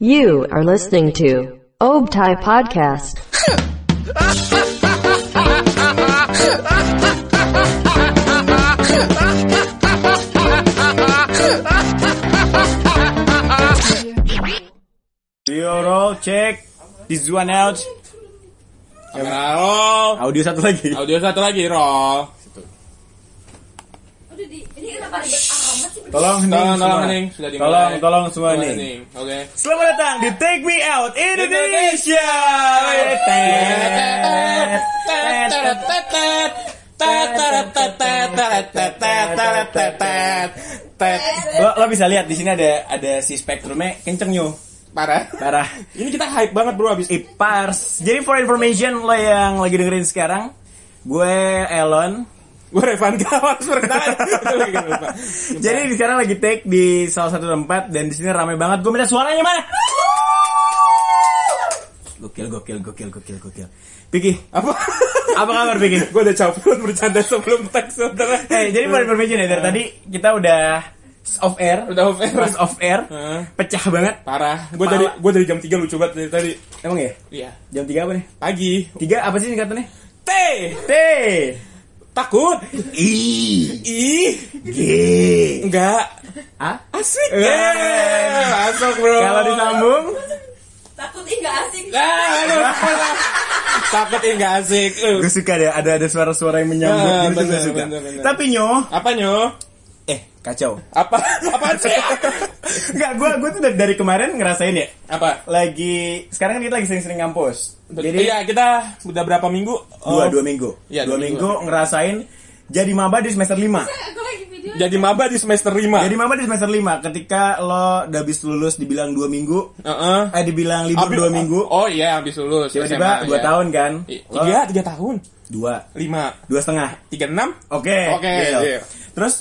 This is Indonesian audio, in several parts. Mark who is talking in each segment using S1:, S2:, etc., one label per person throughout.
S1: You are listening to Obtai Podcast.
S2: Yo roll check This one out
S3: Kamera roll.
S2: Audio satu lagi
S3: Audio Oh, satu lagi roll.
S4: Udah di, ini kenapa ribet amat sih?
S2: Tolong
S3: Tolong
S2: hening
S3: tolong
S2: semua.
S3: hening sudah dimulai.
S2: Tolong tolong semua
S3: Tolong
S2: hening.
S3: hening. Oke.
S2: Selamat datang di Take Me Out Indonesia Lo, lo bisa lihat di sini ada ada si spektrumnya kenceng yo
S3: Parah.
S2: parah
S3: Ini kita hype banget bro abis.
S2: Ipars jadi for information lo yang lagi dengerin sekarang gue Elon
S3: Gue Revan Kawas perkenalan.
S2: Jadi di sekarang lagi take di salah satu tempat dan di sini ramai banget. Gue minta suaranya mana? Gokil, gokil, gokil, gokil, gokil. Piki,
S3: apa?
S2: apa kabar Piki?
S3: Gue udah capek bercanda sebelum tag saudara.
S2: Eh, jadi for information ya dari tadi kita udah off air,
S3: Udah off air.
S2: terus off air,
S3: Heeh.
S2: pecah banget.
S3: Parah. Gue dari
S2: Parah.
S3: gue dari jam 3 lucu banget dari tadi.
S2: Emang ya?
S3: Iya.
S2: Jam 3 apa nih?
S3: Pagi.
S2: 3 apa sih singkatannya?
S3: T.
S2: T.
S3: Takut.
S2: I.
S3: Ih.
S2: G.
S3: Enggak.
S2: A.
S3: Asik.
S2: Eh.
S3: Eh, Masuk bro.
S2: Kalau disambung,
S4: Takut ih nggak asik.
S3: Ah, aduh. Takut ini nggak asik. Eh,
S2: gue suka deh ada ada suara-suara yang menyambut
S3: Ah,
S2: gitu, gue
S3: bener,
S2: suka.
S3: bener, bener.
S2: Tapi nyoh,
S3: Apa nyo?
S2: eh kacau.
S3: Apa? Apa sih?
S2: Enggak, gue gue tuh dari, dari kemarin ngerasain ya.
S3: Apa?
S2: Lagi sekarang kan kita lagi sering-sering ngampus. Jadi
S3: Jadi ya kita udah berapa minggu?
S2: dua
S3: Oh,
S2: dua minggu.
S3: Iya,
S2: dua
S3: dua
S2: minggu ngerasain jadi maba di semester 5.
S4: Aku lagi video.
S3: Jadi maba di semester 5
S2: Jadi maba di semester 5 ketika lo udah habis lulus dibilang dua minggu, eh dibilang libur dua minggu.
S3: Oh iya, habis lulus.
S2: Tiba-tiba
S3: SMA,
S2: dua
S3: iya.
S2: tahun kan?
S3: I- iya.
S2: Lo
S3: Tiga, tiga tahun.
S2: dua,
S3: Lima,
S2: dua setengah.
S3: tiga enam.
S2: Oke.
S3: Oke,
S2: deal.
S3: deal.
S2: Terus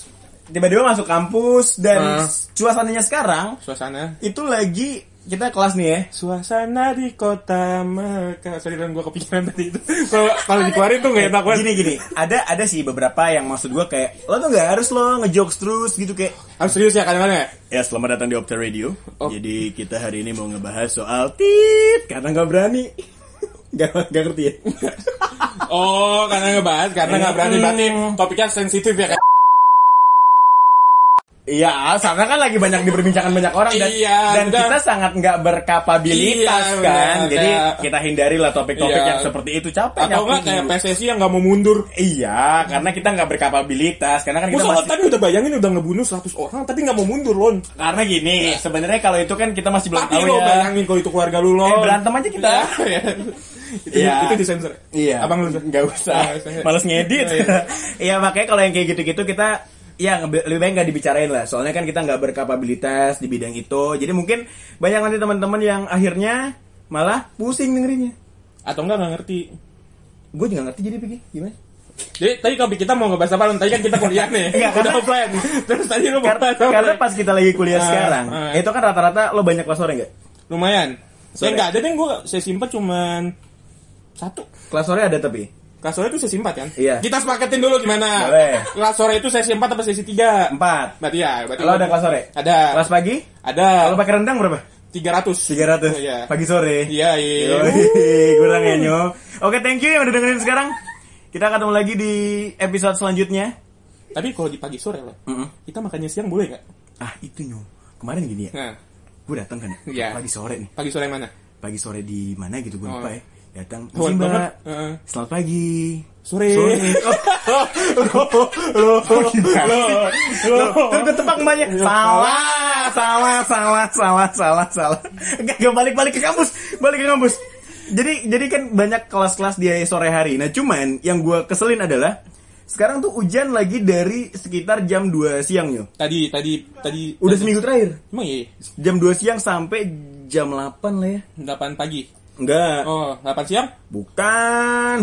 S2: tiba-tiba masuk kampus dan
S3: Hmm.
S2: suasananya sekarang
S3: Suasana.
S2: itu lagi kita kelas nih ya.
S3: Suasana di kota Mekah. Sorry, Ren, gua kepikiran tadi itu. Kalau kalau dikeluarin tuh nggak enak banget.
S2: gini gini ada ada sih beberapa yang maksud gue kayak lo tuh nggak harus lo ngejokes terus gitu kayak
S3: Harus serius ya kadang-kadang ya?
S2: ya selamat datang di Opta Radio
S3: Oh.
S2: jadi kita hari ini mau ngebahas soal tit karena nggak berani nggak nggak ngerti ya
S3: Oh, karena ngebahas, karena nggak berani berarti
S2: Hmm.
S3: topiknya sensitif ya kan?
S2: iya karena kan lagi banyak diperbincangkan banyak orang dan
S3: Iya,
S2: dan
S3: udah.
S2: kita sangat nggak berkapabilitas kan
S3: Iya, benar,
S2: jadi
S3: kayak-
S2: kita hindarilah topik-topik
S3: Iya.
S2: yang seperti itu capek
S3: Atau
S2: nyapu
S3: nggak kayak
S2: dulu.
S3: PSSI yang nggak mau mundur?
S2: Iya, karena kita nggak berkapabilitas, karena kan kita
S3: Musuh
S2: masih
S3: tadi udah bayangin udah ngebunuh 100 orang tapi nggak mau mundur lon.
S2: karena gini, sebenarnya kalau itu kan kita masih belum
S3: Iya. Tapi
S2: tahu
S3: lo
S2: ya.
S3: bayangin kalau itu keluarga lu lon.
S2: Eh, berantem aja kita.
S3: Iya. itu,
S2: Iya.
S3: itu disensor.
S2: Iya.
S3: Abang lu
S2: nggak usah. Males ngedit.
S3: Iya, iya.
S2: Iya makanya kalau yang kayak gitu-gitu kita ya nge- lebih baik nggak dibicarain lah. Soalnya kan kita nggak berkapabilitas di bidang itu. Jadi mungkin banyak nanti teman-teman yang akhirnya malah pusing dengerinnya.
S3: Atau enggak nggak ngerti.
S2: Gue juga nggak ngerti jadi pikir gimana?
S3: Jadi tadi kalau kita mau ngebahas apa Lon? Tadi kan kita kuliah nih.
S2: Iya,
S3: udah
S2: karena-
S3: offline. Terus tadi lu mau
S2: Kar-
S3: bahas apa?
S2: karena pas kita lagi kuliah
S3: Ah,
S2: sekarang,
S3: ah.
S2: itu kan rata-rata lo banyak kelas sore nggak?
S3: lumayan. Saya
S2: Sore.
S3: nggak ada deh gua saya simpan cuman satu.
S2: Kelas sore ada tapi.
S3: Kelas sore itu sesi 4 kan?
S2: Iya.
S3: Kita sepakatin dulu gimana.
S2: Boleh.
S3: Kelas sore itu sesi 4 apa sesi 3?
S2: Empat.
S3: Berarti ya, berarti
S2: Lo ada kelas sore?
S3: Ada.
S2: Kelas pagi?
S3: ada.
S2: Kalau pakai rendang berapa?
S3: 300.
S2: 300
S3: Iya.
S2: pagi sore.
S3: Iya, iya.
S2: Yoi, kurang ya Nyo. Oke, thank you yang udah dengerin sekarang. Kita ketemu lagi di episode selanjutnya.
S3: Tapi kalau di pagi sore lah.
S2: Mm-mm.
S3: Kita makannya siang boleh nggak?
S2: Ah, itu Nyo. Kemarin gini ya.
S3: Nah,
S2: Gue datang kan.
S3: Iya.
S2: Pagi sore nih.
S3: pagi sore yang mana?
S2: Pagi sore di mana gitu gue lupa
S3: Oh.
S2: ya. Datang.
S3: Tuan
S2: "Mbak,
S3: banget. Heeh.
S2: Selamat pagi.
S3: Sore.
S2: Sore. Oh. Loh, loh, loh. Iya. Tuh gue tebak emaknya. Salah, salah, salah, salah, salah, salah. Gak, balik-balik ke kampus, balik ke kampus. Jadi, jadi kan banyak kelas-kelas di sore hari. Nah, cuman yang gue keselin adalah sekarang tuh hujan lagi dari sekitar jam 2 siang yo.
S3: Tadi, tadi, tadi.
S2: Udah
S3: tadi-
S2: seminggu terakhir.
S3: Emang iya,
S2: Jam 2 siang sampai jam 8 lah ya.
S3: 8 pagi.
S2: Enggak,
S3: Oh, 8 siang?
S2: bukan.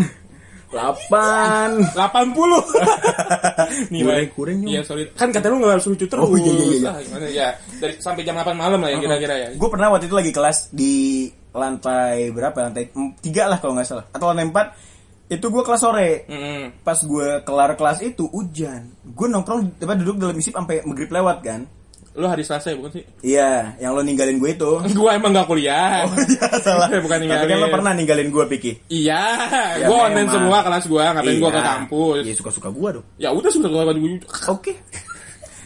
S2: 8.
S3: 80.
S2: Kurang- kurang, Nyong.
S3: Iya, sorry. Kan kata lu nggak harus lucu terus.
S2: Oh, iya, iya, iya.
S3: Ah, gimana ya? Dari sampai jam 8 malam lah ya kira-kira ya.
S2: Gue pernah waktu itu lagi kelas di lantai berapa? Lantai em, tiga lah kalau nggak salah, atau lantai empat. Itu gue kelas sore.
S3: Mm-mm.
S2: Pas gue kelar kelas itu hujan. Gue nongkrong, apa duduk dalam isip sampai maghrib lewat kan.
S3: Lu hari Selasa ya bukan sih?
S2: Iya, yang lo ninggalin gue itu.
S3: Gua emang gak kuliah.
S2: Oh iya, salah.
S3: Eh, Bukan ninggalin.
S2: Tapi kan lo pernah ninggalin gue, Piki.
S3: Iya,
S2: Ya,
S3: gua online
S2: memang.
S3: semua kelas gua, ngapain gua ke
S2: Iya.
S3: kampus.
S2: Iya, suka-suka gue dong.
S3: Ya udah sudah gua gua-
S2: Oke.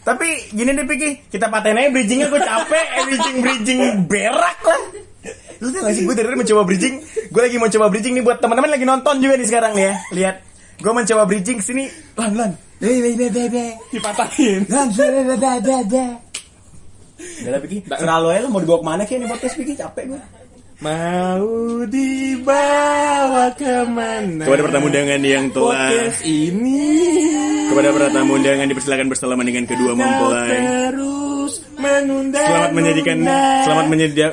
S2: Tapi gini deh Piki, kita paten aja bridgingnya gue capek, eh, bridging bridging berak lah. Lu tau gak sih gue dari tadi mencoba bridging, gue lagi mau coba bridging nih buat teman-teman lagi nonton juga nih sekarang nih ya. Lihat, gue mencoba bridging sini, lan lan, be be be be be,
S3: dipatahin.
S2: lan be be be be be be. Gak lah Piki, selalu aja lu mau dibawa kemana kayak nih podcast Piki, capek gue.
S3: Mau dibawa kemana?
S2: Kepada pertamu undangan yang telah
S3: Podcast ini
S2: Kepada pertamu undangan dipersilakan bersalaman dengan kedua
S3: kau
S2: mempelai
S3: terus menunda
S2: Selamat menyajikan Selamat ah. menyediakan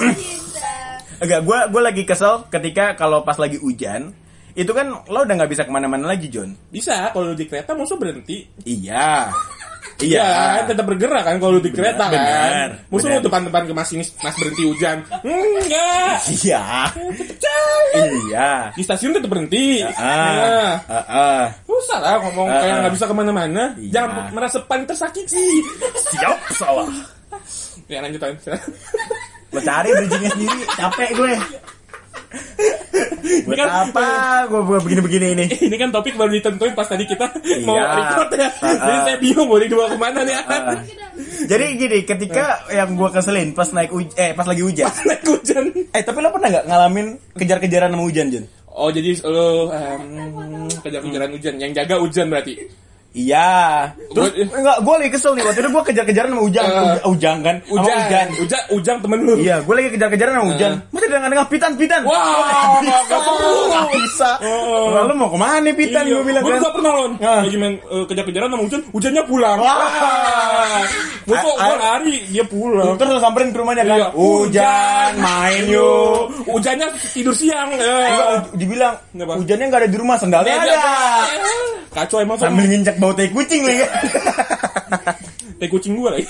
S2: Enggak, gue gua lagi kesel ketika kalau pas lagi hujan itu kan lo udah nggak bisa kemana-mana lagi John.
S3: Bisa kalau lu di kereta masa berhenti?
S2: Iya,
S3: Iya, tetap bergerak kan kalau lu di kereta kan.
S2: benar,
S3: Masa
S2: benar.
S3: lu depan-depan ke masinis, mas berhenti hujan. Enggak.
S2: iya, iya.
S3: Di stasiun tetap berhenti.
S2: Ah,
S3: Nah,
S2: ah, ah.
S3: Susah lah ngomong
S2: Ah,
S3: kayak
S2: ah.
S3: nggak bisa kemana-mana.
S2: Iya.
S3: Jangan merasa paling tersakiti.
S2: siap salah.
S3: ya lanjut Wan.
S2: Lo cari bridgingnya sendiri, capek gue. Buat
S3: Kan-
S2: apa gue buat begini-begini ini?
S3: Ini kan topik baru ditentuin pas tadi kita mau
S2: Iya.
S3: record ya.
S2: Ah,
S3: Jadi
S2: ah.
S3: saya bingung mau dibawa kemana nih. ya. anak.
S2: Jadi gini, ketika yang gue keselin pas naik huj- eh pas lagi hujan.
S3: Naik hujan.
S2: Eh tapi lo pernah nggak ngalamin kejar-kejaran sama hujan John?
S3: Oh jadi lo kejar-kejaran hujan. Yang jaga hujan berarti.
S2: Iya. Terus
S3: Gua-
S2: enggak gue lagi kesel nih waktu itu gue kejar-kejaran sama Ujang,
S3: Eh.
S2: Uj- Ujang kan, Sama
S3: Hujan.
S2: Ujang.
S3: Ujang, Ujang temen lu.
S2: Iya, gue lagi kejar-kejaran sama Ujang. Masa di tengah-tengah pitan pitan.
S3: Wah,
S2: Nggak
S3: nggak- nggak perlu.
S2: Nggak bisa.
S3: Oh.
S2: Lalu mau kemana nih pitan
S3: Iya,
S2: gue bilang
S3: gua
S2: kan.
S3: juga pernah lon
S2: Ah.
S3: lagi main eh, kejar-kejaran sama hujan hujannya pulang
S2: Wah.
S3: wah gua tuh
S2: Ah,
S3: gua
S2: ah.
S3: lari dia pulang
S2: Terus lo samperin ke rumahnya kan.
S3: Iya,
S2: Ujang main yuk.
S3: hujannya tidur siang
S2: Enggak,
S3: ya.
S2: u- dibilang
S3: Nggak, Bang.
S2: hujannya nggak ada di rumah sendalnya ada.
S3: kacau emang
S2: Sambil
S3: sambil
S2: nginjak bau tai kucing lagi.
S3: Iya. kayak kucing gua lagi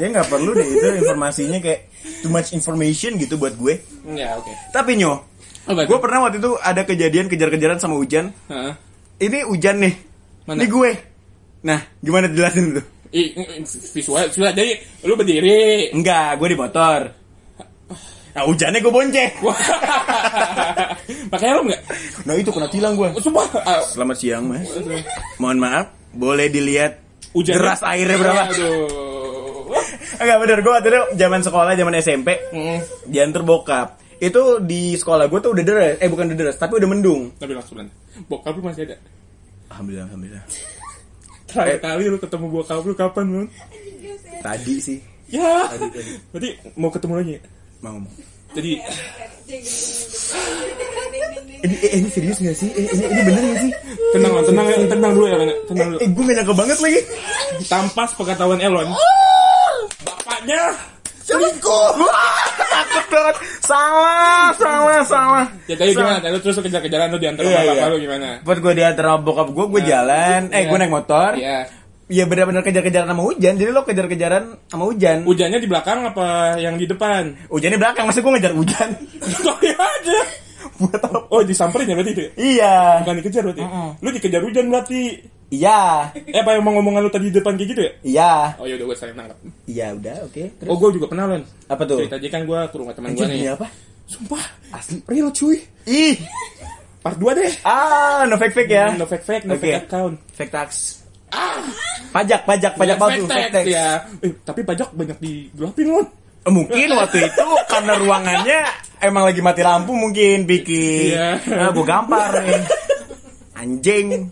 S2: ya nggak perlu deh itu informasinya kayak too much information gitu buat gue.
S3: ya oke
S2: Tapi nyo,
S3: Apa
S2: gue pernah waktu itu ada kejadian kejar-kejaran sama hujan.
S3: Oh, Heeh.
S2: ini hujan nih.
S3: Mana?
S2: Ini gue. Nah, gimana jelasin itu?
S3: Ih, ih, visual visual jadi lu berdiri
S2: Enggak, gue di motor. Nah, hujannya gue bonceng.
S3: Wah. pakai helm nggak
S2: Nah, itu kena tilang gue.
S3: sumpah ah,
S2: Selamat siang, Mas. Mohon maaf, boleh dilihat
S3: hujannya
S2: deras airnya berapa?
S3: Iya, aduh
S2: Enggak bener, gue waktu itu zaman sekolah, zaman SMP,
S3: Mm.
S2: diantar bokap. Itu di sekolah gue tuh udah deras, eh bukan udah deras, tapi udah mendung.
S3: tapi langsung lan. bokap lu masih ada
S2: Alhamdulillah, alhamdulillah.
S3: terakhir
S2: Eh.
S3: kali lu ketemu bokap lu kapan Lon?
S2: Tadi sih
S3: Ya. Berarti mau ketemu lagi. ya?
S2: mau ngomong.
S3: Jadi
S2: Ini, eh, ini serius gak sih? Eh, ini, ini bener gak sih?
S3: tenang Lon, tenang tenang dulu ya, Lon. tenang dulu.
S2: Iya, Eh, gue gak nyangka banget lagi.
S3: Tampas pengetahuan Elon.
S2: Oh!
S3: Bapaknya.
S2: Selingkuh. Takut banget. Salah, salah, salah.
S3: Ya tadi gimana? Tadi lu terus lu kejar-kejaran lu diantar sama
S2: Iya,
S3: bapak
S2: iya.
S3: lu gimana?
S2: Buat gue diantar sama bokap gue, gue jalan. Eh,
S3: Iya.
S2: gue naik motor.
S3: Iya.
S2: Ya benar-benar kejar-kejaran sama hujan. Jadi lo kejar-kejaran sama hujan.
S3: Hujannya di belakang apa yang di depan?
S2: Hujannya belakang, masa gue ngejar hujan?
S3: Kok ya aja.
S2: Buat apa?
S3: Oh, disamperin ya berarti itu. ya?
S2: Iya.
S3: Bukan dikejar berarti. Lu dikejar hujan berarti.
S2: Iya.
S3: Eh, apa yang mau ngomongan lu tadi di depan kayak gitu ya?
S2: Iya.
S3: Oh ya udah gue saya nangkap.
S2: Iya, udah, oke. Terus
S3: Oh gue juga pernah Lon.
S2: Apa tuh? iya.
S3: Cerita aja kan gue ke rumah teman
S2: Anjir,
S3: gue
S2: ini
S3: nih.
S2: apa?
S3: Sumpah.
S2: Asli.
S3: Real cuy.
S2: Ih.
S3: Part 2 deh.
S2: Ah, no fake-fake ya.
S3: No fake fake, no
S2: Oke.
S3: fake account.
S2: Fake tax. Ah. Pajak, pajak, pajak palsu,
S3: Fake
S2: fake tax.
S3: ya. Eh, tapi pajak banyak digelapin loh.
S2: Mungkin waktu itu karena ruangannya emang lagi mati lampu mungkin bikin
S3: Iya.
S2: ah, gua gampar nih. Anjing.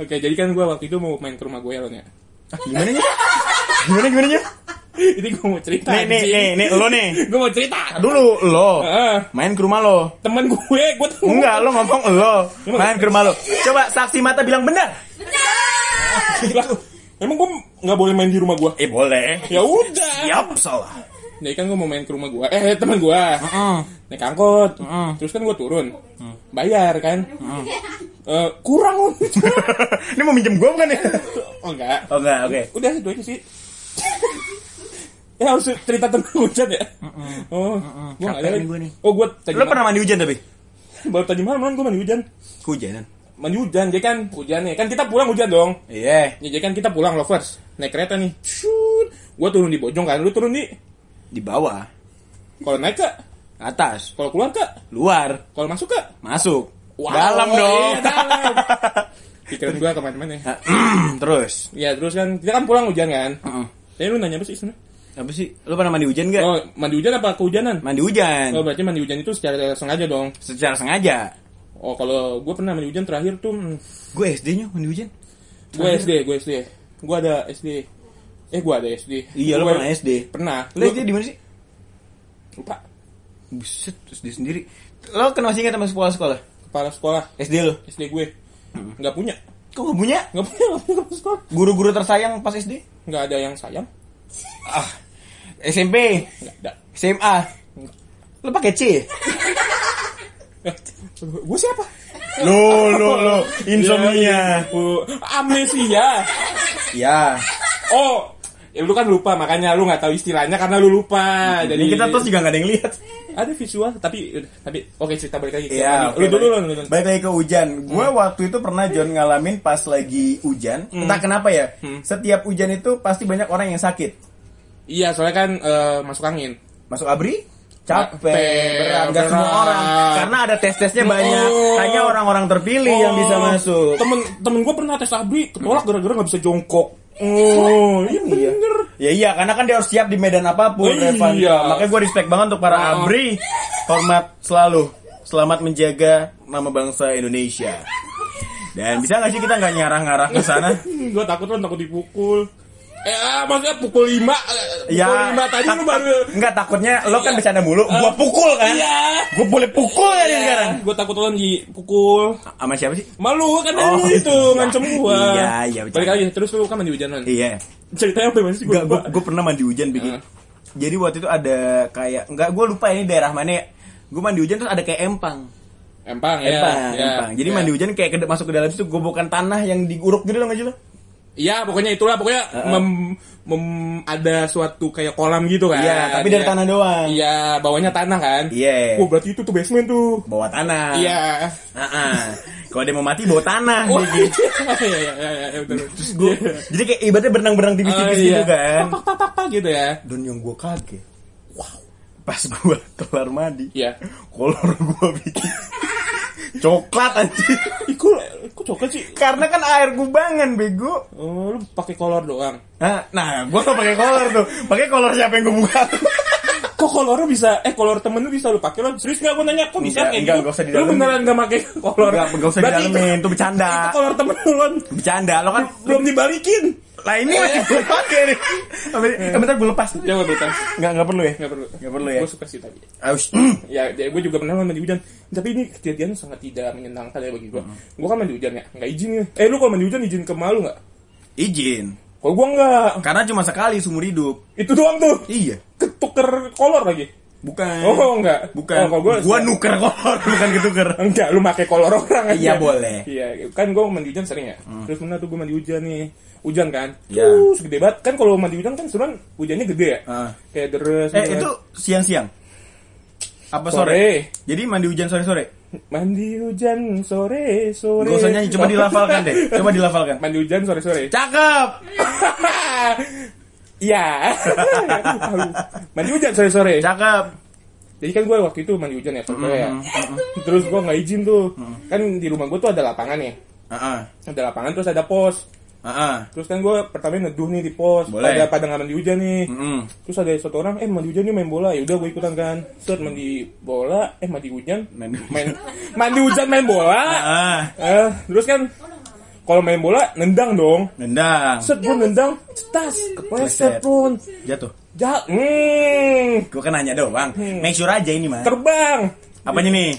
S3: Oke, jadi kan gue waktu itu mau main ke rumah gue Lon ya.
S2: Ah, Gimana nya? Gimana gimana nya?
S3: Ini gue mau cerita.
S2: Nih nih nih nih lo nih.
S3: Gue mau cerita.
S2: Dulu lo
S3: Heeh.
S2: main ke rumah lo.
S3: Temen gue, gue tuh.
S2: Enggak, lo ngomong lo main ke rumah lo. Coba saksi mata bilang benar.
S3: Lah, Emang gue nggak boleh main di rumah gue.
S2: Eh boleh.
S3: Ya udah.
S2: Yap, salah.
S3: Jadi kan gue mau main ke rumah gue. Eh, temen gue. Naik angkot. Terus kan gue turun.
S2: Mm.
S3: Bayar kan. Eh, kurang Lon.
S2: Ini mau minjem gua bukan ya?
S3: oh enggak.
S2: Oh enggak, oke.
S3: Udah itu aja sih. ya harus cerita tentang hujan ya. Oh, gua nggak
S2: Capek
S3: ada.
S2: nih gua nih.
S3: Oh, gua tadi
S2: Lo pernah mandi hujan tapi?
S3: baru tadi malam kan gua mandi hujan.
S2: Kehujanan.
S3: menhujan jadi kan hujannya kan kita pulang hujan dong
S2: Iya,
S3: ya, jadi kan kita pulang lovers naik kereta nih Shoot. gua turun di Bojong kan lu turun di
S2: di bawah,
S3: kalau naik kak
S2: atas,
S3: kalau keluar kak
S2: luar,
S3: kalau masuk kak
S2: masuk,
S3: Wow,
S2: dalam dong.
S3: iya, dalam. pikiran gua kemana-mana ya.
S2: Terus,
S3: ya terus kan kita kan pulang hujan kan
S2: Heeh.
S3: Jadi lu nanya apa sih sebenarnya?
S2: apa sih? Lu pernah mandi hujan gak?
S3: Oh, mandi hujan apa
S2: Ya.
S3: kehujanan?
S2: Mandi hujan,
S3: Oh, berarti mandi hujan itu secara sengaja dong.
S2: secara sengaja.
S3: Oh, kalau gue pernah mandi hujan terakhir tuh hmm,
S2: Gue SD-nya mandi hujan.
S3: gue SD, gue SD. Gue ada SD. Eh, gue ada SD.
S2: Iya, lu
S3: Gua-
S2: pernah SD.
S3: Pernah.
S2: Lu SD di mana sih?
S3: lupa
S2: Buset, terus dia sendiri. Lo kenal masih ingat sama sekolah-sekolah?
S3: kepala sekolah
S2: SD lo?
S3: SD gue.
S2: Hmm.
S3: Nggak punya.
S2: Kok gak punya?
S3: Nggak punya, nggak punya kepala sekolah.
S2: Guru-guru tersayang pas SD?
S3: Nggak ada yang sayang.
S2: Ah, SMP,
S3: Nggak ada.
S2: SMA. Lo pakai C?
S3: Eh, gue siapa?
S2: Lo, lo, lo, Iya.
S3: Ya, Bu. Amnesia.
S2: Ya.
S3: Oh, ya lu kan lupa makanya lu nggak tahu istilahnya karena lu lupa. Jadi
S2: Jadi Hmm, kita terus juga gak ada yang lihat.
S3: ada visual tapi tapi oke cerita balik lagi.
S2: Iya,
S3: lu
S2: oke,
S3: dulu lu
S2: baik.
S3: dulu. Hmm.
S2: Balik lagi ke hujan. Gue waktu itu pernah John ngalamin pas lagi hujan. Entah kenapa ya.
S3: Hmm.
S2: Setiap hujan itu pasti banyak orang yang sakit.
S3: Iya, soalnya kan eh, masuk angin.
S2: Masuk abri, capek,
S3: Capek,
S2: berat, gak
S3: berat.
S2: semua orang. Karena ada tes-tesnya banyak.
S3: Oh.
S2: Hanya orang-orang terpilih
S3: Oh,
S2: yang bisa masuk. Hmm.
S3: Temen temen gue pernah tes abri, ketolak gara-gara nggak bisa jongkok. Oh, iya
S2: Iya.
S3: bener.
S2: Ya iya, karena kan dia harus siap di medan apapun,
S3: Iya.
S2: Revan. Makanya gue respect banget untuk para
S3: Oh.
S2: abri. Hormat selalu. Selamat menjaga nama bangsa Indonesia. Dan bisa gak sih kita nggak nyarah-ngarah ke sana?
S3: gue takut lu takut dipukul. Eh, ah, maksudnya pukul 5 Pukul
S2: Ya,
S3: 5 tadi lu baru
S2: Enggak takutnya lo kan bercanda mulu, gua pukul kan?
S3: Iya.
S2: Gua boleh pukul kan ini sekarang?
S3: Gue takut lu dipukul.
S2: Sama siapa sih?
S3: Malu kan
S2: Oh,
S3: tadi lu itu
S2: iya.
S3: ngancem gua.
S2: Iya, iya, bercanda.
S3: Balik lagi terus lu kan mandi hujanan.
S2: Iya.
S3: Ceritanya apa sih
S2: Enggak,
S3: gua?
S2: gua,
S3: lupa.
S2: gua pernah mandi hujan bikin.
S3: Ah.
S2: Jadi waktu itu ada kayak enggak gua lupa ini daerah mana ya. Gua mandi hujan terus ada kayak empang.
S3: Empang ya.
S2: empang,
S3: ya,
S2: empang. Jadi
S3: ya.
S2: mandi hujan kayak ke- masuk ke dalam situ gobokan tanah yang diguruk gitu loh nggak sih lo?
S3: Iya, pokoknya itulah pokoknya
S2: Heeh.
S3: mem- mem- ada suatu kayak kolam gitu kan.
S2: Iya, tapi dari
S3: Iya.
S2: tanah doang.
S3: Iya, bawahnya tanah kan.
S2: Iya. Nah.
S3: Wah, berarti itu tuh basement tuh.
S2: Bawa tanah.
S3: Iya.
S2: Heeh. Kalau dia mau mati bawa tanah
S3: Wah,
S2: dia gitu.
S3: iya, iya, iya, iya, betul.
S2: Nah, Terus gua- jadi kayak ibaratnya berenang-berenang tipis-tipis
S3: Oh,
S2: gitu
S3: iya.
S2: kan.
S3: Tak, tak, tak, tak, gitu ya.
S2: Dan yang gue kaget Wow Pas gue kelar mandi
S3: Iya.
S2: Kolor gue bikin Coklat anjir
S3: Iku, kok coklat sih?
S2: Karena kan air kubangan bego
S3: Oh, lu pakai kolor doang.
S2: Nah, nah gue gak pakai kolor tuh pakai kolor siapa yang gue buka
S3: Kok kolor lu bisa eh kolor temen lu bisa lu pakai lu serius nggak gue nanya kok
S2: Enggak,
S3: bisa kayak
S2: enggak,
S3: gitu?
S2: nggak usah
S3: lu
S2: didalemin.
S3: beneran nggak pakai kolor?
S2: Enggak, enggak usah
S3: Berarti
S2: didalemin, itu bercanda.
S3: Itu kolor temen lu Lon.
S2: Bercanda lo kan
S3: belum dibalikin.
S2: Lah ini masih gue pake nih Ambil- eh, Bentar gue lepas Enggak,
S3: Jangan berutang.
S2: enggak perlu ya
S3: Nggak perlu.
S2: Nggak perlu ya
S3: Gue suka sih tadi.
S2: Aus
S3: Ya, ya gue juga pernah mandi hujan. Tapi ini kejadian sangat tidak menyenangkan ya bagi gue.
S2: Hmm.
S3: Gue kan mandi hujan ya, nggak izin ya. Eh lu kalau mandi hujan izin ke malu nggak?
S2: Izin
S3: Kalau gue nggak,
S2: Karena cuma sekali seumur hidup
S3: itu doang tuh.
S2: Iya
S3: Ketuker kolor lagi.
S2: Bukan
S3: Oh enggak.
S2: Eh, Bukan
S3: Oh, kalau gua-
S2: Gue nuker kolor Bukan ketuker
S3: Enggak, lu pakai kolor orang aja.
S2: Iya, boleh. Hmm.
S3: Iya, kan gue mandi hujan sering ya. Terus pernah tuh gue mandi hujan nih. Hujan kan?
S2: Iya.
S3: Terus gede banget. Kan kalau mandi hujan kan sebenernya hujannya gede ya.
S2: Ah.
S3: Kayak deres.
S2: Eh
S3: banget.
S2: itu Oh, siang-siang. Apa sore?
S3: Iya. Sore.
S2: Jadi mandi hujan sore-sore.
S3: Mandi hujan sore, sore.
S2: Gak usah nyanyi, coba dilafalkan kan, deh. Coba dilafalkan.
S3: Mandi hujan sore-sore.
S2: Cakep.
S3: Iya. mandi hujan sore-sore.
S2: Eh. Cakep.
S3: Jadi kan gue waktu itu mandi hujan ya, sore ya.
S2: Mm-hmm.
S3: Terus gue nggak izin tuh. Kan di rumah gue tuh ada lapangan ya.
S2: Heeh.
S3: Ada lapangan terus ada pos.
S2: Heeh.
S3: Terus kan gue pertama neduh nih di pos,
S2: Boleh. Mm-hmm.
S3: pada pada nggak mandi hujan nih.
S2: Mm-mm.
S3: Terus ada satu orang, eh mandi hujan nih main bola, ya udah gue ikutan kan. Set mandi bola, eh mandi hujan,
S2: Main Ah. hujan.
S3: main mandi hujan main bola.
S2: Heeh.
S3: Eh, terus kan kalau main bola nendang dong.
S2: Nendang.
S3: Set gue nendang, cetas,
S2: Kepleset.
S3: kepleset pun.
S2: Jatuh.
S3: Ja, hmm,
S2: Gue kan nanya doang.
S3: Iya.
S2: Make sure aja ini mah.
S3: terbang,
S2: Apanya nih?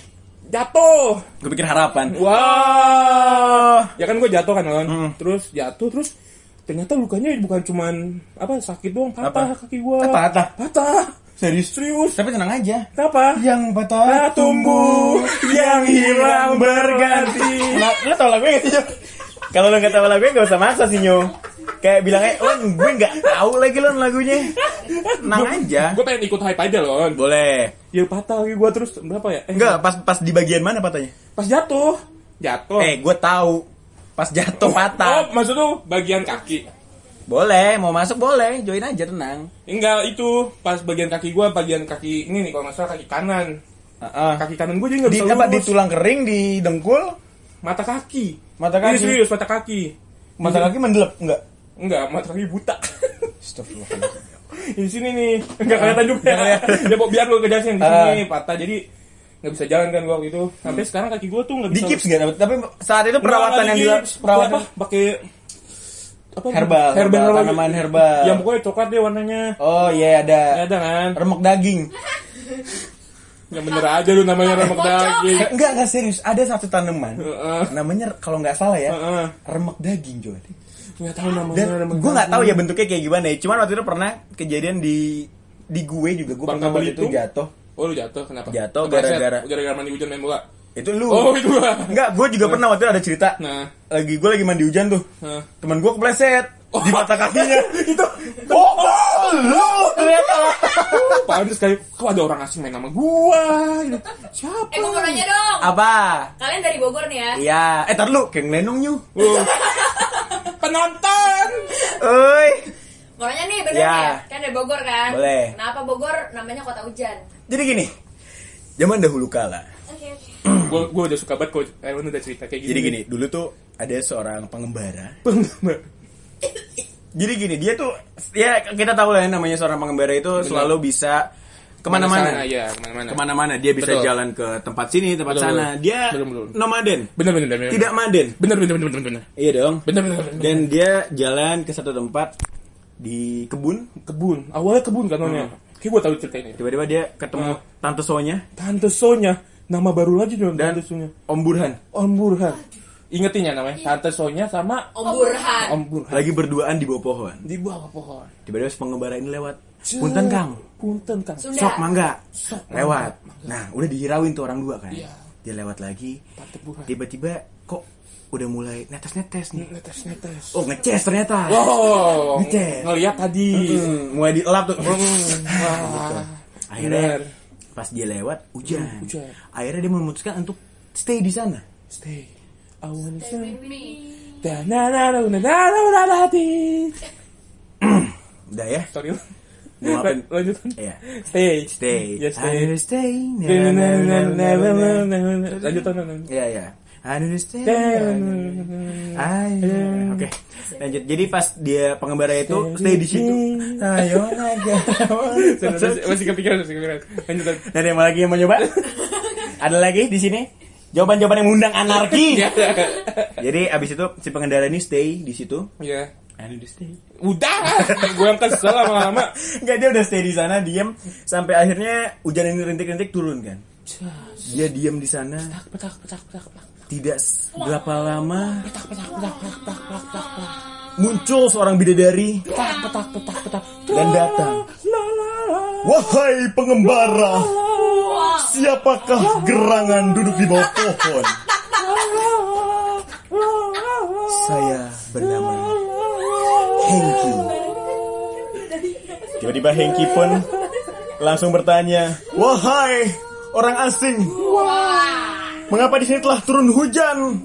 S3: jatuh.
S2: Gue pikir harapan.
S3: Wah. Ya kan gue jatuh kan, Lon.
S2: Hmm.
S3: Terus jatuh terus ternyata lukanya bukan cuman apa sakit doang, patah
S2: Apa?
S3: kaki gua.
S2: Eh, patah?
S3: Patah.
S2: Serius?
S3: Serius.
S2: Tapi tenang aja.
S3: Kenapa?
S2: Yang
S3: Patah
S2: patah
S3: tumbuh, yang hilang berganti.
S2: Nah, lu tau lagu gak sih, Nyok? Kalau lu gak tau lagunya gak usah maksa sih, Nyok. Kayak bilangnya, Lon, gue gak tau lagi, Lon, lagunya. Tenang aja.
S3: Gue pengen ikut hype aja loh.
S2: Boleh.
S3: Ya patah kaki gua terus berapa ya? Eh,
S2: Enggak, pas pas di bagian mana patahnya?
S3: Pas jatuh. jatuh.
S2: Eh, gue tahu. Pas jatuh
S3: oh,
S2: patah.
S3: maksud lu bagian kaki?
S2: Boleh, mau masuk boleh, join aja tenang.
S3: Enggak, itu pas bagian kaki gua, bagian kaki ini nih kalau nggak salah kaki kanan. Nah,
S2: Heeh.
S3: Kaki kanan gua juga
S2: Di
S3: bisa
S2: apa di
S3: lurus.
S2: tulang kering di dengkul?
S3: mata kaki.
S2: Mata
S3: Ini
S2: kaki.
S3: serius mata kaki.
S2: Mata kaki mendelep enggak?
S3: Enggak, mata kaki buta.
S2: Astagfirullah.
S3: di sini nih, enggak kelihatan juga.
S2: Nggak Ah, kelihatan.
S3: Ya pok, biar lu kejelasin di
S2: Ah. Hmm.
S3: sini patah. Jadi nggak bisa jalan kan gua waktu itu. Sampai sekarang kaki gua tuh nggak
S2: Di
S3: bisa.
S2: gips enggak dapat? Tapi saat itu perawatan yang
S3: dia
S2: dilakukan perawatan
S3: apa? Pakai apa?
S2: Herbal,
S3: herbal,
S2: herbal,
S3: herbal.
S2: tanaman herbal.
S3: Yang pokoknya coklat deh warnanya.
S2: Oh iya ada
S3: Ya, ada kan?
S2: remek daging.
S3: Yang bener aja lu namanya remek
S4: Kocok.
S3: daging.
S2: Eh, enggak enggak serius, ada satu tanaman.
S3: Iya. Heeh.
S2: Namanya kalau nggak salah ya,
S3: Heeh.
S2: remek daging coy.
S3: Nggak tahu namanya
S2: Dan
S3: remek
S2: gue nggak
S3: daging.
S2: tahu ya bentuknya kayak gimana ya. Cuman waktu itu pernah kejadian di di gue juga gue
S3: Bangka
S2: pernah waktu itu
S3: Belitung?
S2: jatuh.
S3: Oh lu jatuh kenapa?
S2: Jatuh
S3: Kepleset.
S2: gara-gara-
S3: gara-gara mandi hujan main bola.
S2: Itu lu.
S3: Oh itu gua.
S2: Enggak, gue juga pernah waktu itu ada cerita.
S3: Nah.
S2: Lagi gue lagi mandi hujan tuh.
S3: Hah.
S2: Teman gue kepleset
S3: Oh.
S2: di mata kakinya.
S3: itu
S2: oh, lu ternyata.
S3: apaan terus kayak kok ada orang asing main sama gua gitu. siapa
S4: Eh, gue
S2: Hmm.
S4: mau nanya dong.
S2: Apa?
S4: Kalian dari Bogor nih ya?
S2: Iya, eh tar lu kayak ngelenong nyu.
S3: Oh. penonton
S2: Oi.
S4: Mau nanya nih, bener
S2: Iya.
S4: ya? Kan dari Bogor kan?
S2: Boleh.
S4: Kenapa Bogor namanya kota hujan?
S2: Jadi gini. Zaman dahulu kala.
S4: Oke, oke.
S3: gua gua udah suka banget kok Aaron udah cerita kayak gini
S2: Jadi gini, dulu tuh ada seorang pengembara
S3: Pengembara.
S2: Jadi gini, dia tuh ya kita tahu lah ya namanya seorang pengembara itu selalu bisa
S3: Sana,
S2: kemana-mana.
S3: ya kemana-mana
S2: Kemana-mana dia bisa
S3: Betul.
S2: jalan ke tempat sini, tempat
S3: Betul,
S2: sana.
S3: betul.
S2: Dia
S3: Belum, belum.
S2: nomaden,
S3: bener bener bener bener.
S2: tidak maden.
S3: bener bener bener bener bener
S2: Iya dong.
S3: bener bener bener.
S2: Dan dia jalan ke satu tempat di kebun.
S3: kebun awalnya kebun kan namanya
S2: Hmm.
S3: kayak gua tahu cerita ini
S2: Tiba-tiba dia ketemu tante Sonya
S3: tante Sonya nama baru lagi dong
S2: dan
S3: tante Sonya
S2: Om Burhan
S3: Om Burhan ingetin ya namanya tante Sonya sama
S2: Oh,
S4: Om Oh, Burhan.
S3: Om Burhan
S2: lagi berduaan di bawah pohon.
S3: di bawah pohon
S2: Tiba-tiba si pengembara ini lewat. Punten Kang,
S3: punten kan? kang
S4: Sunda.
S2: sok mangga.
S3: Sok
S2: Lewat. Nah, udah dihirauin tuh orang dua kan.
S3: Iya.
S2: Dia lewat lagi.
S3: tante Burhan
S2: tiba-tiba kok udah mulai netes-netes nih.
S3: netes netes
S2: Oh, ngeces ternyata.
S3: Oh,
S2: Ngecek.
S3: ngeliat tadi.
S2: Hmm, mulai dielap tuh.
S3: Wah.
S2: Akhirnya
S3: Bener.
S2: pas dia lewat hujan.
S3: Hmm, hujan.
S2: Akhirnya dia memutuskan untuk stay di sana.
S3: Stay. I wanna stay. Da na na na na na na na na di.
S2: Udah ya.
S3: Sorry.
S2: Mau ngapain?
S3: Lan- Lanjut.
S2: Iya.
S3: Stay.
S2: Ya, Stay.
S3: Yes,
S2: I
S3: stay.
S2: will stay. Na,
S3: Ya,
S2: na,
S3: Na na na na
S2: na, na, na.
S3: na na. Ya, Lanjut na na.
S2: Iya, iya. I will stay.
S3: Stay. ya.
S2: I- Eh, Oke. Lanjut. Jadi pas dia pengembara itu stay di situ. Ayo naga.
S3: Sorry, masih- Masih kepikiran, masih kepikiran. Lanjut. lanjut.
S2: Dan yang lagi yang mau nyoba? Ada lagi di sini? Jawaban-jawaban yang mengundang anarki. Jadi abis itu si pengendara ini stay di situ.
S3: Ya.
S2: And stay.
S3: Udah, gue yang kesel lama-lama.
S2: Enggak dia udah stay di sana diem sampai akhirnya hujan ini rintik-rintik turun kan. Dia diem di sana
S3: Petak, petak, petak, petak,
S2: tidak s- berapa lama
S3: petak, petak, petak, petak, petak, petak, petak.
S2: muncul seorang bidadari
S3: petak petak petak petak
S2: Dan datang.
S3: La, la, la,
S2: Wahai pengembara,
S3: la,
S2: siapakah gerangan duduk di bawah pohon?
S3: la, la, la,
S2: Saya bernama
S3: la.
S2: Hengki. Tiba-tiba Hengki pun langsung bertanya, "Wahai orang asing, mengapa di sini telah turun hujan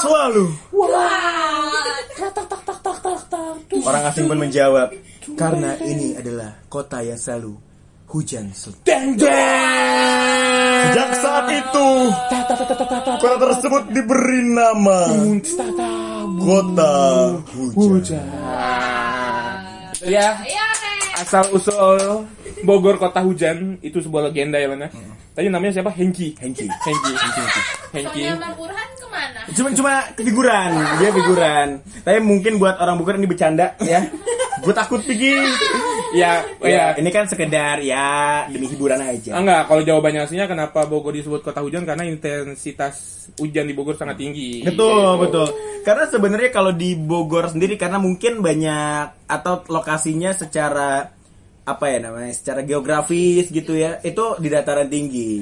S2: selalu?" Orang asing pun menjawab, "Karena ini adalah kota yang selalu hujan selalu."
S3: Deng, deng.
S2: Sejak saat itu,
S3: Ta, ta, ta, ta, ta, ta, ta.
S2: kota tersebut diberi nama
S3: Ta, ta, bu-
S2: Kota Hujan.
S3: Hujan. Ya,
S4: Iya, Nek.
S3: asal usul Bogor kota hujan itu sebuah legenda ya mana. Tadi namanya siapa? Hengki.
S2: Hmm. Hengki.
S3: Hengki. Hengki.
S4: Soalnya Om Burhan kemana?
S2: Cuma cuma figuran, dia figuran. Tapi mungkin buat orang bukan ini bercanda ya. Gue takut pikir.
S3: Ya, ya.
S2: Ya, ini kan sekedar ya demi hiburan aja.
S3: Ah, Enggak, kalau jawabannya aslinya kenapa Bogor disebut kota hujan karena intensitas hujan di Bogor sangat tinggi.
S2: Betul, betul. Karena sebenarnya kalau di Bogor sendiri karena mungkin banyak atau lokasinya secara apa ya namanya, secara geografis gitu ya, itu di dataran tinggi.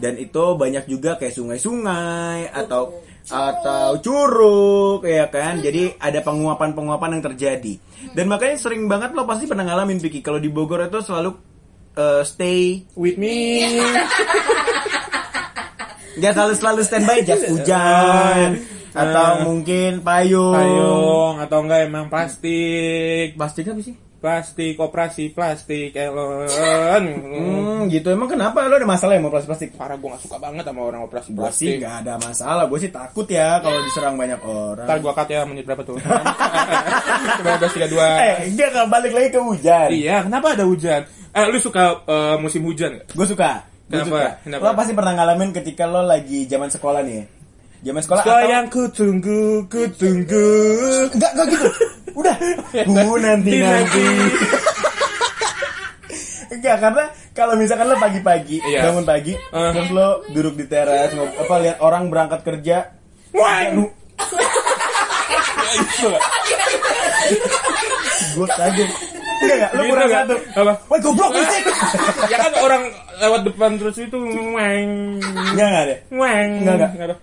S2: Dan itu banyak juga kayak sungai-sungai atau atau curug ya kan. Jadi ada penguapan-penguapan yang terjadi. Dan makanya sering banget lo pasti pernah ngalamin Vicky kalau di Bogor itu selalu eh, stay
S3: With me.
S2: Dia selalu selalu standby jas hujan atau mungkin payung.
S3: payung atau enggak emang plastik
S2: Plastik apa sih?
S3: plastik operasi plastik elon
S2: Hmm, gitu. Emang kenapa lo ada masalah ya sama plastik-plastik?
S3: parah gue gak suka banget sama orang operasi
S2: Gua sih
S3: plastik
S2: nggak ada masalah. Gue sih takut ya kalau diserang banyak orang.
S3: ntar gue cut ya menit berapa tuh coba udah tiga dua
S2: Eh, dia nggak balik lagi ke hujan.
S3: iya kenapa ada hujan eh lu suka eh, musim hujan gak?
S2: Gue suka. Gue
S3: Kenapa?
S2: suka.
S3: Kenapa?
S2: Lo pasti pernah ngalamin ketika lo lagi zaman sekolah nih. ya? Zaman sekolah
S3: Kau
S2: atau
S3: yang kutunggu, kutunggu.
S2: Enggak, enggak gitu. Udah. Ku nanti nanti. Enggak, karena kalau misalkan lo pagi-pagi,
S3: Iya.
S2: bangun pagi,
S3: Eh.
S2: terus lo duduk di teras, ngop- apa lihat orang berangkat kerja,
S3: Wah, itu.
S2: gue kaget. Enggak, enggak, lo
S3: Gitu
S2: kurang
S3: nggak?
S2: satu.
S3: Apa?
S2: Wah, goblok berisik.
S3: ya kan orang lewat depan terus itu weng
S2: Enggak, enggak deh.
S3: weng
S2: Enggak, enggak.
S3: ada.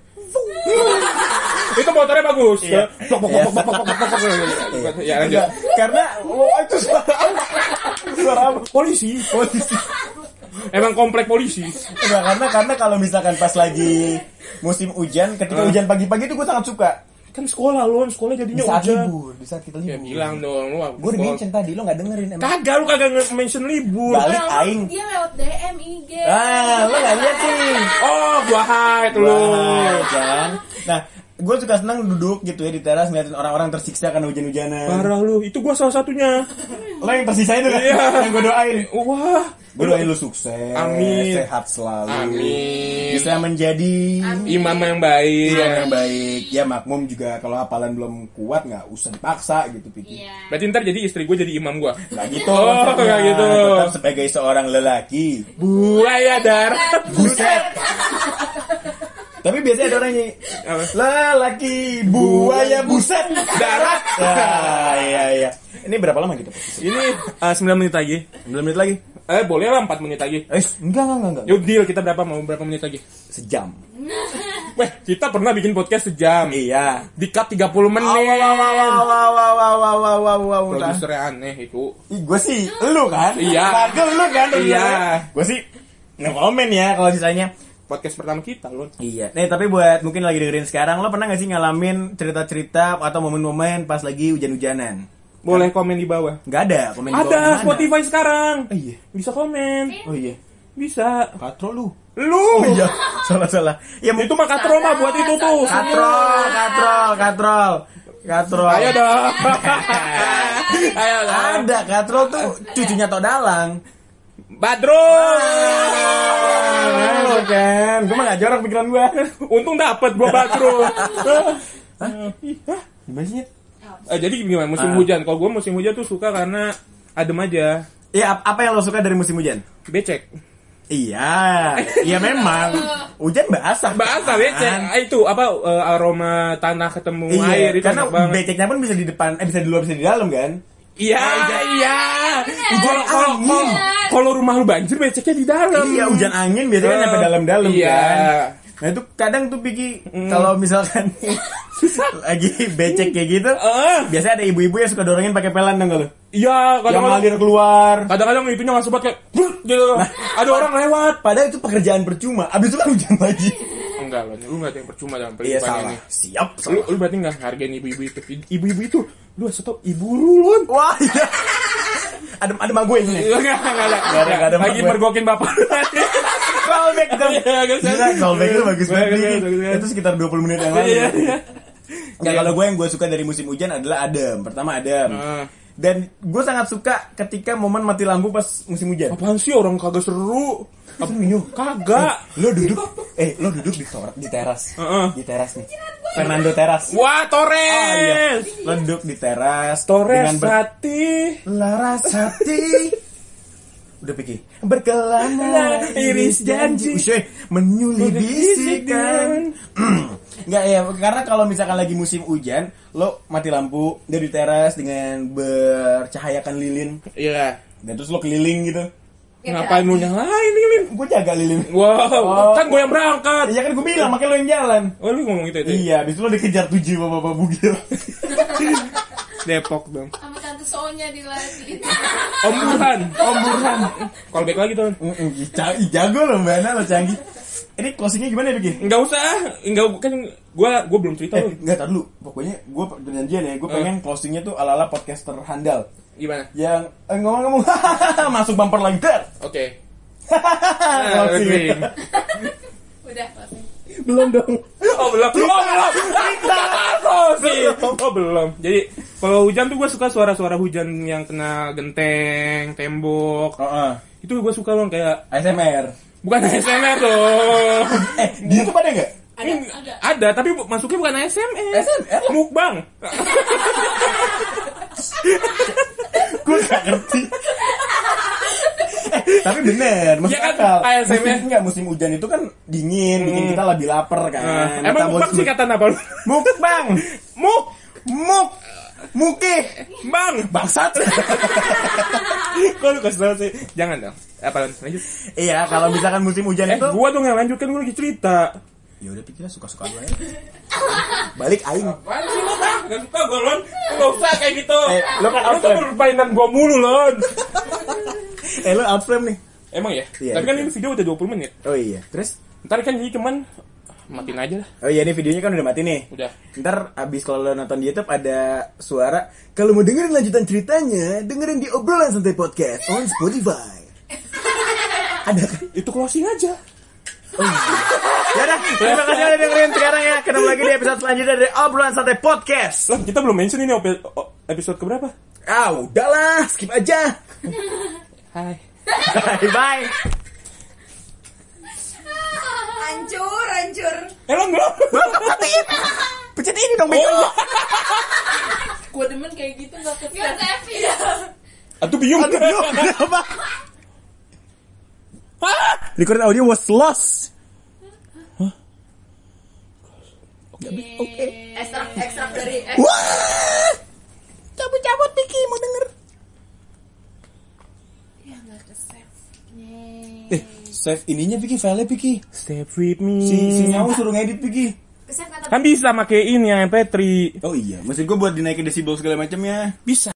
S3: itu motornya bagus
S2: Iya.
S3: Plok, plok, plok, plok, plok, plok, plok, plok, plok. ya lanjut
S2: Enggak, karena wah itu suara apa? Suara apa? Polisi, polisi.
S3: emang komplek polisi
S2: Enggak, karena karena kalau misalkan pas lagi musim hujan, ketika
S3: Eh.
S2: hujan pagi-pagi itu gue sangat suka.
S3: kan sekolah lu sekolah
S2: Di
S3: jadinya
S2: saat
S3: hujan
S2: libur, di saat kita
S3: ya
S2: libur.
S3: bilang dong lu
S2: Gue udah mention tadi, lo gak dengerin emang.
S3: kagak lu kagak nge- mention libur
S2: Balik
S4: Lewat-
S2: aing.
S4: Dia lewat DM IG.
S2: Ah, lo gak lihat sih.
S3: oh gua hide lu
S2: Wah, kan. Nah, gue suka senang duduk gitu ya di teras ngeliatin orang-orang tersiksa karena hujan-hujanan.
S3: parah lu itu gua salah satunya
S2: Lo yang tersiksa itu kan?
S3: Iya.
S2: Yang gue doain.
S3: wah
S2: Gue doain lo sukses.
S3: Amin.
S2: Sehat selalu.
S3: amin
S2: Bisa menjadi
S3: imam yang baik
S2: Iya, yang baik. Ya makmum juga kalau hafalan belum kuat nggak usah dipaksa gitu pikir.
S4: Iya.
S3: berarti ntar jadi istri gua jadi imam gua
S2: Nggak gitu.
S3: Oh,
S2: konsepnya.
S3: nggak gitu.
S2: Tetap sebagai seorang lelaki.
S3: buaya ya, dar
S2: Buset. Tapi biasanya ada orang nyanyi
S3: Apa?
S2: lelaki buaya buset
S3: Darat.
S2: Ya, iya iya. Ini berapa lama gitu? Pak?
S3: Ini eh, 9 menit lagi.
S2: 9 menit lagi.
S3: Eh boleh lah 4 menit lagi.
S2: Eh, enggak enggak enggak. enggak.
S3: Yuk deal kita berapa mau berapa menit lagi?
S2: Sejam.
S3: Weh, kita pernah bikin podcast sejam.
S2: Iya.
S3: Di cut 30 menit. Produsernya aneh itu.
S2: Gue sih lu kan?
S3: Iya.
S2: Kan lu kan?
S3: Iya.
S2: Gue sih no komen ya kalau sisanya.
S3: Podcast pertama kita loh.
S2: Iya. Nih tapi buat mungkin lagi dengerin sekarang, lo pernah gak sih ngalamin cerita-cerita atau momen-momen pas lagi hujan-hujanan?
S3: Boleh komen di bawah. Eh.
S2: Gak ada komen di bawah
S3: Ada
S2: mana?
S3: Spotify sekarang.
S2: Oh, iya.
S3: Bisa komen.
S2: Oh iya.
S3: Bisa.
S2: Katro lu.
S3: Lu.
S2: Oh iya. Salah salah. Ya mungkin
S3: Itu mah katro mah buat itu tuh.
S2: katrol, katrol, katrol, katrol.
S3: Ayo dong. Ayo dong.
S2: Ada katrol tuh cucunya Tok Dalang.
S3: Badrul.
S2: Lo kan, gue mah gak jorok pikiran gue.
S3: Untung dapet gua Badrul.
S2: Gimana sih? Nyet?
S3: Eh, jadi gimana musim
S2: Ah.
S3: hujan? Kalau gue musim hujan tuh suka karena adem aja,
S2: Ya ap- apa yang lo suka dari musim hujan?
S3: becek,
S2: Iya, iya memang. Hujan basah.
S3: basah becek.
S2: kan?
S3: Ah, Itu apa eh, aroma tanah ketemu
S2: Iya,
S3: air itu
S2: karena
S3: enak banget.
S2: beceknya pun bisa di depan, eh bisa di luar bisa di dalam kan?
S3: Iya iya. Kalau kalau
S2: angin.
S3: kalau- kalau rumah lu banjir beceknya di dalam.
S2: Iya, hujan angin biasanya kan
S3: Eh,
S2: sampai dalam-dalam
S3: iya. Mm.
S2: kan. Nah itu kadang tuh Piki kalau misalkan lagi becek kayak gitu,
S3: Eh,
S2: biasanya ada ibu-ibu yang suka dorongin pakai pelan dong kalau.
S3: iya
S2: Yang
S3: kadang-kadang
S2: ngalir Nah. keluar.
S3: kadang-kadang itunya nggak sempat kayak "Brut," gitu. Ada orang lewat.
S2: Padahal itu pekerjaan percuma. Abis itu kan hujan lagi.
S3: Enggak loh, lu nggak ada yang percuma dalam
S2: Iya
S3: pelimpahan
S2: salah.
S3: ini.
S2: Siap.
S3: Lu,
S2: Salah.
S3: lu berarti nggak hargain ibu-ibu itu. Ibu-ibu itu lu harus tau ibu lu. Lon.
S2: Wah iya. Adem adem gue ini.
S3: Enggak, enggak, enggak.
S2: Enggak ada, enggak ada
S3: Lagi
S2: mak gue.
S3: mergokin bapak.
S2: Callback dong.
S3: Iya, bagus,
S2: Gila,
S3: bagus.
S2: callback itu bagus banget.
S3: Bagus,
S2: Dik.
S3: bagus, bagus.
S2: Itu sekitar 20 menit yang lalu.
S3: Iya, iya.
S2: Ya kalau gue yang gue suka dari musim hujan adalah adem. Pertama adem.
S3: Ah.
S2: Dan gue sangat suka ketika momen mati lampu pas musim hujan.
S3: Apaan sih orang kagak seru? Oh,
S2: Apa Nyu?
S3: Kagak.
S2: Lo duduk, eh lo duduk di, tor- di teras,
S3: Heeh.
S2: di teras nih. Fernando teras. Ah, iya.
S3: Wah, Torres.
S2: Lo duduk di teras.
S3: Torres
S2: dengan ber-
S3: Sati.
S2: Laras hati Udah pergi Berkelana Nah, Iris janji Ush, eh, Menyuli bisikan Enggak ya Karena kalau misalkan lagi musim hujan Lo mati lampu Dari teras Dengan bercahayakan lilin
S3: Iya.
S2: Dan terus lo keliling gitu
S3: Ngapain lu nyalain ini, Lin?
S2: Gue jaga lilin
S3: Wow, kan gue yang berangkat.
S2: Oh. Iya kan gue bilang Makanya lo yang jalan
S3: Oh, lu ngomong itu, itu.
S2: Iya Abis itu lo dikejar tujuh Bapak-bapak bugil
S3: Depok dong.
S4: Sama tante Sonya di lagi.
S3: Om Burhan. Om Burhan. Kalau back lagi, Ton.
S2: Mm-mm, Jago lo mbak Ana Lo canggih Ini closingnya gimana ya, Begi?
S3: Nggak usah, ah. nggak kan gue gue belum cerita
S2: Eh,
S3: lu.
S2: enggak tahu dulu. Pokoknya gue perjanjian ya, gue pengen closingnya tuh ala-ala podcaster handal.
S3: Gimana?
S2: Yang eh, ngomong-ngomong masuk bumper lagi der.
S3: Oke. Ah,
S2: Closing.
S3: closing.
S4: Udah closing.
S2: Belum dong.
S3: Oh belum, oh belum, closing. Oh belum. Jadi kalau hujan tuh gue suka suara-suara hujan yang kena genteng, tembok.
S2: Heeh.
S3: Itu gue suka bang kayak
S2: ASMR.
S3: bukan ASMR dong.
S2: Eh, di YouTube ada enggak?
S3: Ada, ada. ada, tapi bu- masuknya bukan ASMR.
S2: ASMR?
S3: Mukbang.
S2: Gue gak ngerti. Eh, tapi bener, masuk
S3: Ya kan,
S2: akal.
S3: ASMR.
S2: Musim, enggak, musim hujan itu kan dingin, bikin kita lebih lapar kan.
S3: Eh, emang mukbang
S2: Metabolisme-
S3: singkatan apa lu?
S2: Mukbang.
S3: Muk,
S2: Muk. Muke.
S3: bang.
S2: Bangsat.
S3: Kok lu kesel sih? Jangan dong. Apa lanjut?
S2: iya, kalau misalkan musim hujan
S3: Eh,
S2: itu
S3: gua dong yang lanjutkan gua lagi cerita.
S2: ya udah pikirnya suka-suka gue aja. Balik aing.
S3: Mana sih lo bang? Gak suka gue lon Gak usah kayak gitu
S2: Eh, lo kan
S3: Lo tuh
S2: outframe.
S3: permainan gue mulu lon
S2: Eh, lu outframe nih.
S3: Emang ya?
S2: Iya,
S3: Tapi kan
S2: iya.
S3: ini video udah 20 menit
S2: Oh iya. Terus
S3: Ntar kan jadi cuman Matiin aja lah
S2: Oh iya ini videonya kan udah mati nih.
S3: Udah
S2: Ntar abis kalau lo nonton di YouTube ada suara kalau mau dengerin lanjutan ceritanya dengerin di obrolan santai podcast on Spotify. ada kan?
S3: Itu closing aja
S2: Ya udah, terima kasih udah dengerin sekarang ya. Ketemu lagi di episode selanjutnya dari obrolan santai podcast.
S3: Lah kita belum mention ini opi- o- episode keberapa?
S2: Ah udahlah, skip aja.
S3: Hai
S2: Bye bye.
S4: Hancur, hancur.
S3: Eh lo belum?
S2: Pencet pencet ini dong bego.
S4: Gue demen kayak gitu gak ketika. Iya.
S3: Aduh biung
S2: Aduh, no, kenapa? Record audio was lost.
S4: Ekstrak, ekstrak dari eh,
S2: Wah! Cabut-cabut Diki mau denger. Eh, save ininya Vicky, file-nya Vicky.
S3: Step with me
S2: Si, si Nyau suruh ngedit Vicky.
S4: kesep kata
S3: Kan bisa pakai ini yang MP3
S2: Oh iya, maksud gue buat dinaikin desibel segala macamnya.
S3: Bisa